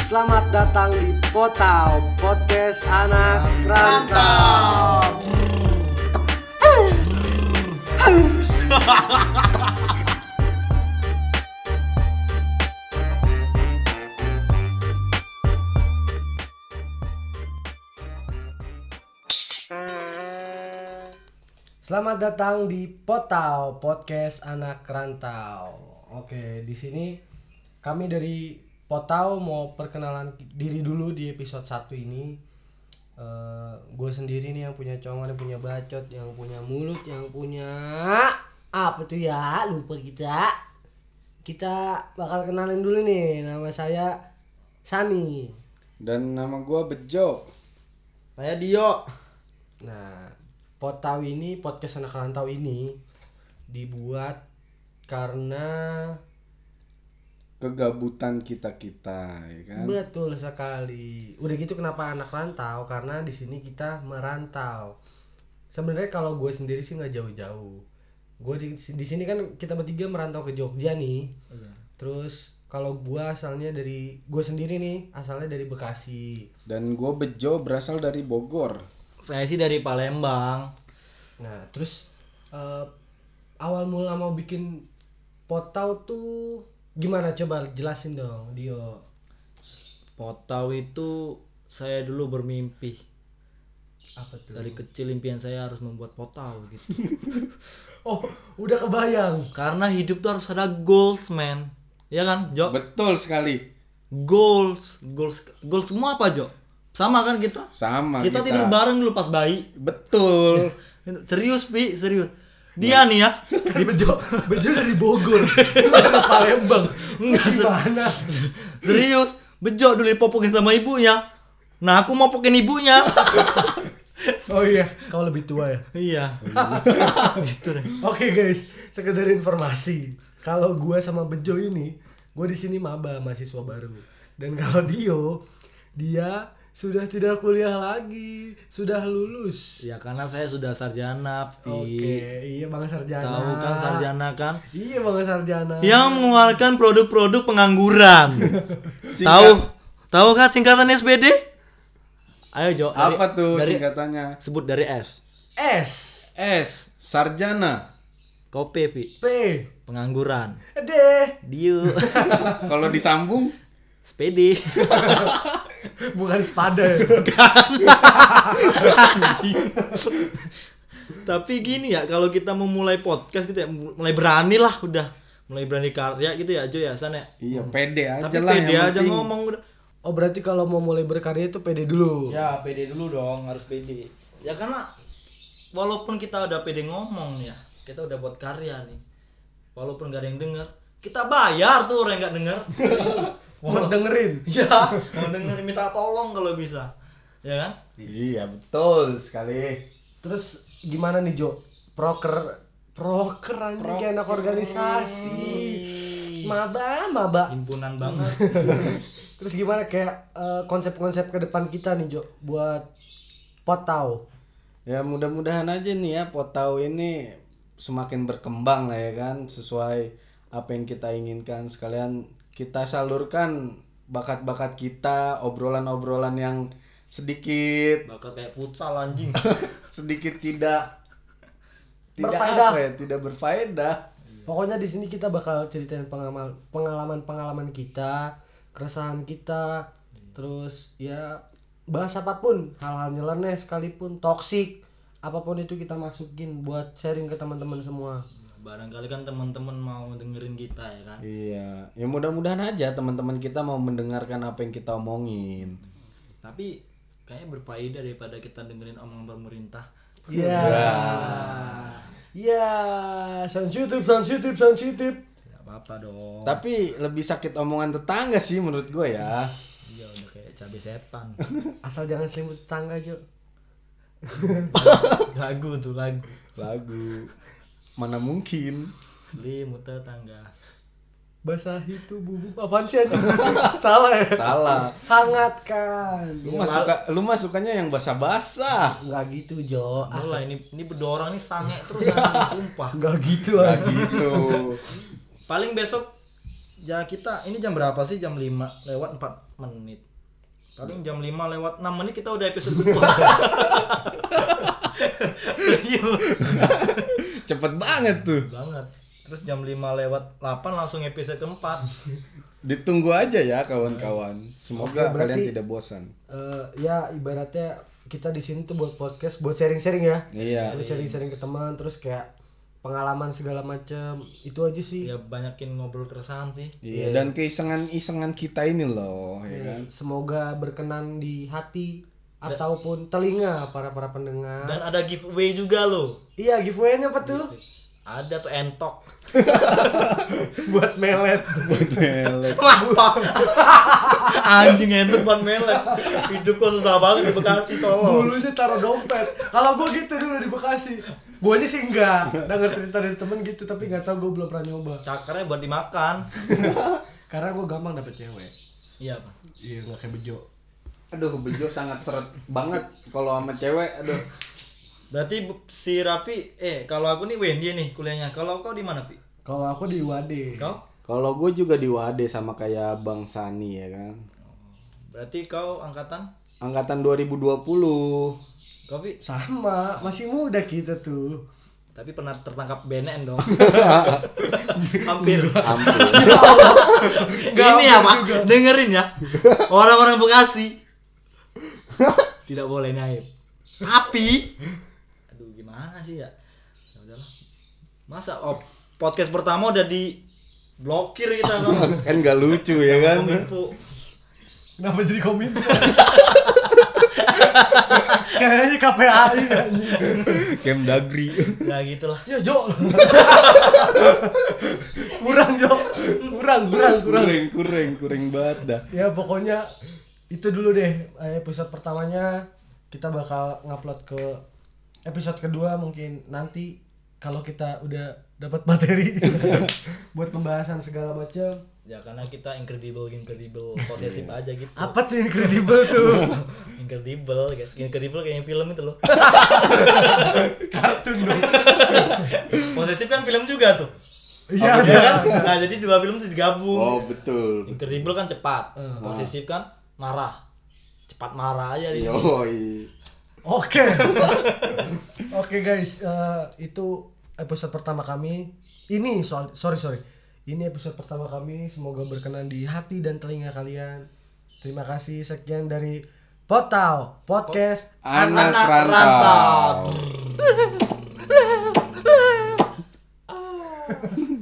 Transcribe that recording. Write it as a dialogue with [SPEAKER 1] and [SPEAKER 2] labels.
[SPEAKER 1] Selamat datang di Potau Podcast Anak Rantau. Selamat datang di Potau Podcast Anak Rantau. Oke, di sini kami dari Potau mau perkenalan diri dulu di episode 1 ini. gue sendiri nih yang punya congor, yang punya bacot, yang punya mulut, yang punya apa tuh ya? Lupa kita. Kita bakal kenalin dulu nih. Nama saya Sami.
[SPEAKER 2] Dan nama gua Bejo.
[SPEAKER 3] Saya Dio.
[SPEAKER 1] Nah, Potau ini podcast anak rantau ini dibuat karena
[SPEAKER 2] Kegabutan kita-kita, ya kan?
[SPEAKER 1] Betul sekali. Udah gitu kenapa anak rantau? Karena di sini kita merantau. Sebenarnya kalau gue sendiri sih nggak jauh-jauh. Gue di, di sini kan kita bertiga merantau ke Jogja nih. Terus kalau gue asalnya dari gue sendiri nih asalnya dari Bekasi.
[SPEAKER 2] Dan gua Bejo berasal dari Bogor.
[SPEAKER 3] Saya sih dari Palembang.
[SPEAKER 1] Nah terus eh, awal mula mau bikin potau tuh gimana coba jelasin dong Dio.
[SPEAKER 3] Potau itu saya dulu bermimpi.
[SPEAKER 1] Apa tuh?
[SPEAKER 2] Hmm.
[SPEAKER 3] Dari kecil impian saya harus membuat potau gitu.
[SPEAKER 1] Oh udah kebayang.
[SPEAKER 3] Karena hidup tuh harus ada goals, man. Ya kan, Jo?
[SPEAKER 2] Betul sekali.
[SPEAKER 3] Goals, goals, goals semua apa, Jo? Sama kan kita?
[SPEAKER 2] Sama
[SPEAKER 3] Kita,
[SPEAKER 2] kita.
[SPEAKER 3] tidur bareng dulu pas bayi.
[SPEAKER 2] Betul.
[SPEAKER 3] Serius, Pi, serius. Dia nih ya,
[SPEAKER 1] di Bejo Bejo dari Bogor dari Palembang
[SPEAKER 3] Enggak, Sen.
[SPEAKER 1] gimana
[SPEAKER 3] serius. Bejo dulu dipopokin sama ibunya. Nah, aku mau pokin ibunya.
[SPEAKER 1] oh iya kau lebih tua ya
[SPEAKER 3] iya. gitu deh.
[SPEAKER 1] oke guys sekedar informasi kalau gue sama Bejo ini gue di sini maba mahasiswa baru dan kalau Dio dia sudah tidak kuliah lagi sudah lulus
[SPEAKER 3] Ya karena saya sudah sarjana, Pi.
[SPEAKER 1] oke iya bang sarjana
[SPEAKER 3] Tahu
[SPEAKER 2] Nah.
[SPEAKER 3] kan sarjana Ya. kan?
[SPEAKER 1] iya bang sarjana
[SPEAKER 3] Yang mengeluarkan produk-produk pengangguran.
[SPEAKER 2] Singkat-
[SPEAKER 3] Tahu? Tahu kan singkatan SBD? Ayo Jo. dari-
[SPEAKER 2] Apa tuh
[SPEAKER 3] dari-
[SPEAKER 2] singkatannya?
[SPEAKER 3] Sebut dari S.
[SPEAKER 1] S
[SPEAKER 2] S. Sarjana.
[SPEAKER 3] Kopi, Pi.
[SPEAKER 1] P
[SPEAKER 3] Pengangguran.
[SPEAKER 1] D
[SPEAKER 3] Diu.
[SPEAKER 2] Kalau disambung
[SPEAKER 3] SPD.
[SPEAKER 1] bukan sepada ya
[SPEAKER 3] Tapi gini ya, kalau kita memulai podcast gitu ya, mulai berani lah udah. Mulai berani karya gitu ya, Jo ya, San ya.
[SPEAKER 2] Iya, pede aja
[SPEAKER 3] Tapi
[SPEAKER 2] lah
[SPEAKER 3] pede
[SPEAKER 2] yang
[SPEAKER 3] aja
[SPEAKER 2] penting.
[SPEAKER 3] ngomong udah.
[SPEAKER 1] oh berarti kalau mau mulai berkarya itu pede dulu
[SPEAKER 3] Ya pede dulu dong harus pede. Ya karena walaupun kita udah pede ngomong ya, kita udah buat karya nih. Walaupun gak ada yang denger, kita bayar tuh orang yang gak denger.
[SPEAKER 1] mau dengerin
[SPEAKER 3] ya mau denger minta tolong kalau bisa, ya kan?
[SPEAKER 2] Iya, betul sekali.
[SPEAKER 1] Terus gimana nih Jo? Proker proker anjing kayak anak organisasi. Maba, maba.
[SPEAKER 3] Himpunan banget.
[SPEAKER 1] Terus gimana kayak eh, konsep-konsep ke depan kita nih Jo buat potau.
[SPEAKER 2] Ya mudah-mudahan aja nih ya Potau ini semakin berkembang lah ya kan sesuai apa yang kita inginkan sekalian kita salurkan bakat-bakat kita obrolan-obrolan yang sedikit
[SPEAKER 3] Bakal kayak futsal anjing.
[SPEAKER 2] sedikit tidak tidak
[SPEAKER 1] Berfaedah.
[SPEAKER 2] apa ya tidak berfaedah
[SPEAKER 1] Pokoknya di sini kita bakal ceritain pengamal- pengalaman-pengalaman kita, keresahan kita, terus ya bahas apapun, hal-hal nyeleneh sekalipun, toksik, apapun itu kita masukin buat sharing ke teman-teman semua.
[SPEAKER 3] Barangkali kan teman-teman mau dengerin kita ya kan.
[SPEAKER 2] iya ya mudah-mudahan aja teman-teman kita mau mendengarkan apa yang kita omongin
[SPEAKER 3] Tapi kayaknya berfaedah daripada kita dengerin omongan pemerintah.
[SPEAKER 1] Ya. Ya, sound YouTube, sound YouTube, sound YouTube.
[SPEAKER 3] Tidak apa-apa dong.
[SPEAKER 2] tapi lebih sakit omongan tetangga sih menurut gue ya
[SPEAKER 3] Iya udah kayak cabai setan.
[SPEAKER 1] Asal jangan selimut tetangga, Jo.
[SPEAKER 3] lagu tuh lagu.
[SPEAKER 2] lagu mana mungkin
[SPEAKER 3] Selimut tetangga.
[SPEAKER 1] Basahi tubuhmu. Apaan sih anjing? Salah ya?
[SPEAKER 2] salah
[SPEAKER 1] Hangatkan.
[SPEAKER 2] lu mah suka lu mah sukanya yang basa-basa
[SPEAKER 1] Enggak gitu, Jo. Ah,
[SPEAKER 3] Mulai ini ini bedorong nih sange terus anjing, sumpah.
[SPEAKER 1] Enggak gitu anjing.
[SPEAKER 2] gitu
[SPEAKER 3] Paling besok ya kita ini jam berapa sih jam 5 lewat 4 menit paling jam 5 lewat 6 menit kita udah episode kedua Gila.
[SPEAKER 2] Cepet banget tuh.
[SPEAKER 3] banget terus jam 5 lewat 8 langsung episode keempat
[SPEAKER 2] Ditunggu aja ya kawan-kawan. Semoga
[SPEAKER 1] Oke, berarti-
[SPEAKER 2] kalian tidak bosan.
[SPEAKER 1] Eh, ya ibaratnya kita di sini tuh buat podcast buat sharing-sharing ya
[SPEAKER 2] Iya.
[SPEAKER 1] Buat sharing-sharing ke teman terus kayak pengalaman segala macam itu aja sih
[SPEAKER 3] ya banyakin ngobrol keresahan sih
[SPEAKER 2] Iya, dan keisengan-isengan kita ini loh,
[SPEAKER 1] Iya.
[SPEAKER 2] ya kan?
[SPEAKER 1] semoga berkenan di hati ataupun telinga para para pendengar
[SPEAKER 3] dan ada giveaway juga loh
[SPEAKER 1] iya giveaway-nya apa tuh
[SPEAKER 3] ada tuh entok
[SPEAKER 1] buat Iya. melet
[SPEAKER 2] Iya. Melet.
[SPEAKER 3] Kenapa? anjing entok buat melet hidup kok susah banget di Bekasi tolong
[SPEAKER 1] bulunya taruh dompet kalau gua gitu dulu di Bekasi guanya sih enggak denger cerita dari temen gitu tapi nggak tahu gua belum pernah nyoba
[SPEAKER 3] cakarnya buat dimakan
[SPEAKER 1] karena gua gampang dapet cewek
[SPEAKER 3] iya pak
[SPEAKER 1] iya nggak kayak bejo
[SPEAKER 2] Aduh, bejo sangat seret banget kalau sama cewek. Aduh,
[SPEAKER 3] berarti bu- si Raffi eh kalau aku nih Wendy nih kuliahnya kalau kau di mana Pi?
[SPEAKER 1] kalau aku di Wade
[SPEAKER 3] kau
[SPEAKER 2] kalau gue juga di Wade sama kayak Bang Sani ya kan.
[SPEAKER 3] berarti kau angkatan
[SPEAKER 2] Angkatan 2020.
[SPEAKER 3] kau Pi?
[SPEAKER 1] sama masih muda kita tuh
[SPEAKER 3] tapi pernah tertangkap BNN dong hampir
[SPEAKER 2] Ampun.
[SPEAKER 3] ini ya pak dengerin ya orang-orang Bekasi tidak boleh naik tapi aduh gimana sih ya ya udahlah masa oh, podcast pertama udah di blokir kita gitu. dong
[SPEAKER 2] kan gak lucu ya
[SPEAKER 3] Iya,
[SPEAKER 2] kan.
[SPEAKER 3] Kominfo.
[SPEAKER 1] kenapa jadi kominfo sekarang aja KPAI anjing.
[SPEAKER 2] Kem Dagri.
[SPEAKER 3] ya gitulah
[SPEAKER 1] ya Jo kurang Jo kurang kurang kurang
[SPEAKER 2] Kurang kurang kurang banget dah.
[SPEAKER 1] ya pokoknya itu dulu deh Eh, episode pertamanya kita bakal ngupload ke episode kedua mungkin nanti kalau kita udah dapat materi buat pembahasan segala macam
[SPEAKER 3] ya karena kita incredible incredible posesif aja gitu
[SPEAKER 1] apa tuh yang kredibel tuh
[SPEAKER 3] incredible guys incredible kayak yang film itu loh
[SPEAKER 1] kartun dong
[SPEAKER 3] posesif kan film juga tuh
[SPEAKER 1] iya
[SPEAKER 3] ya
[SPEAKER 1] ada
[SPEAKER 3] kan nah jadi dua film itu digabung
[SPEAKER 2] Oh, betul.
[SPEAKER 3] Incredible kan cepat, posesif kan marah, cepat marah aja dia.
[SPEAKER 2] Yoi.
[SPEAKER 1] oke oke guys eh, itu episode pertama kami ini soal sorry sorry ini episode pertama kami semoga berkenan di hati dan telinga kalian terima kasih sekian dari Potau Podcast
[SPEAKER 2] Anak,
[SPEAKER 3] Anak
[SPEAKER 2] rantau.
[SPEAKER 3] rantau.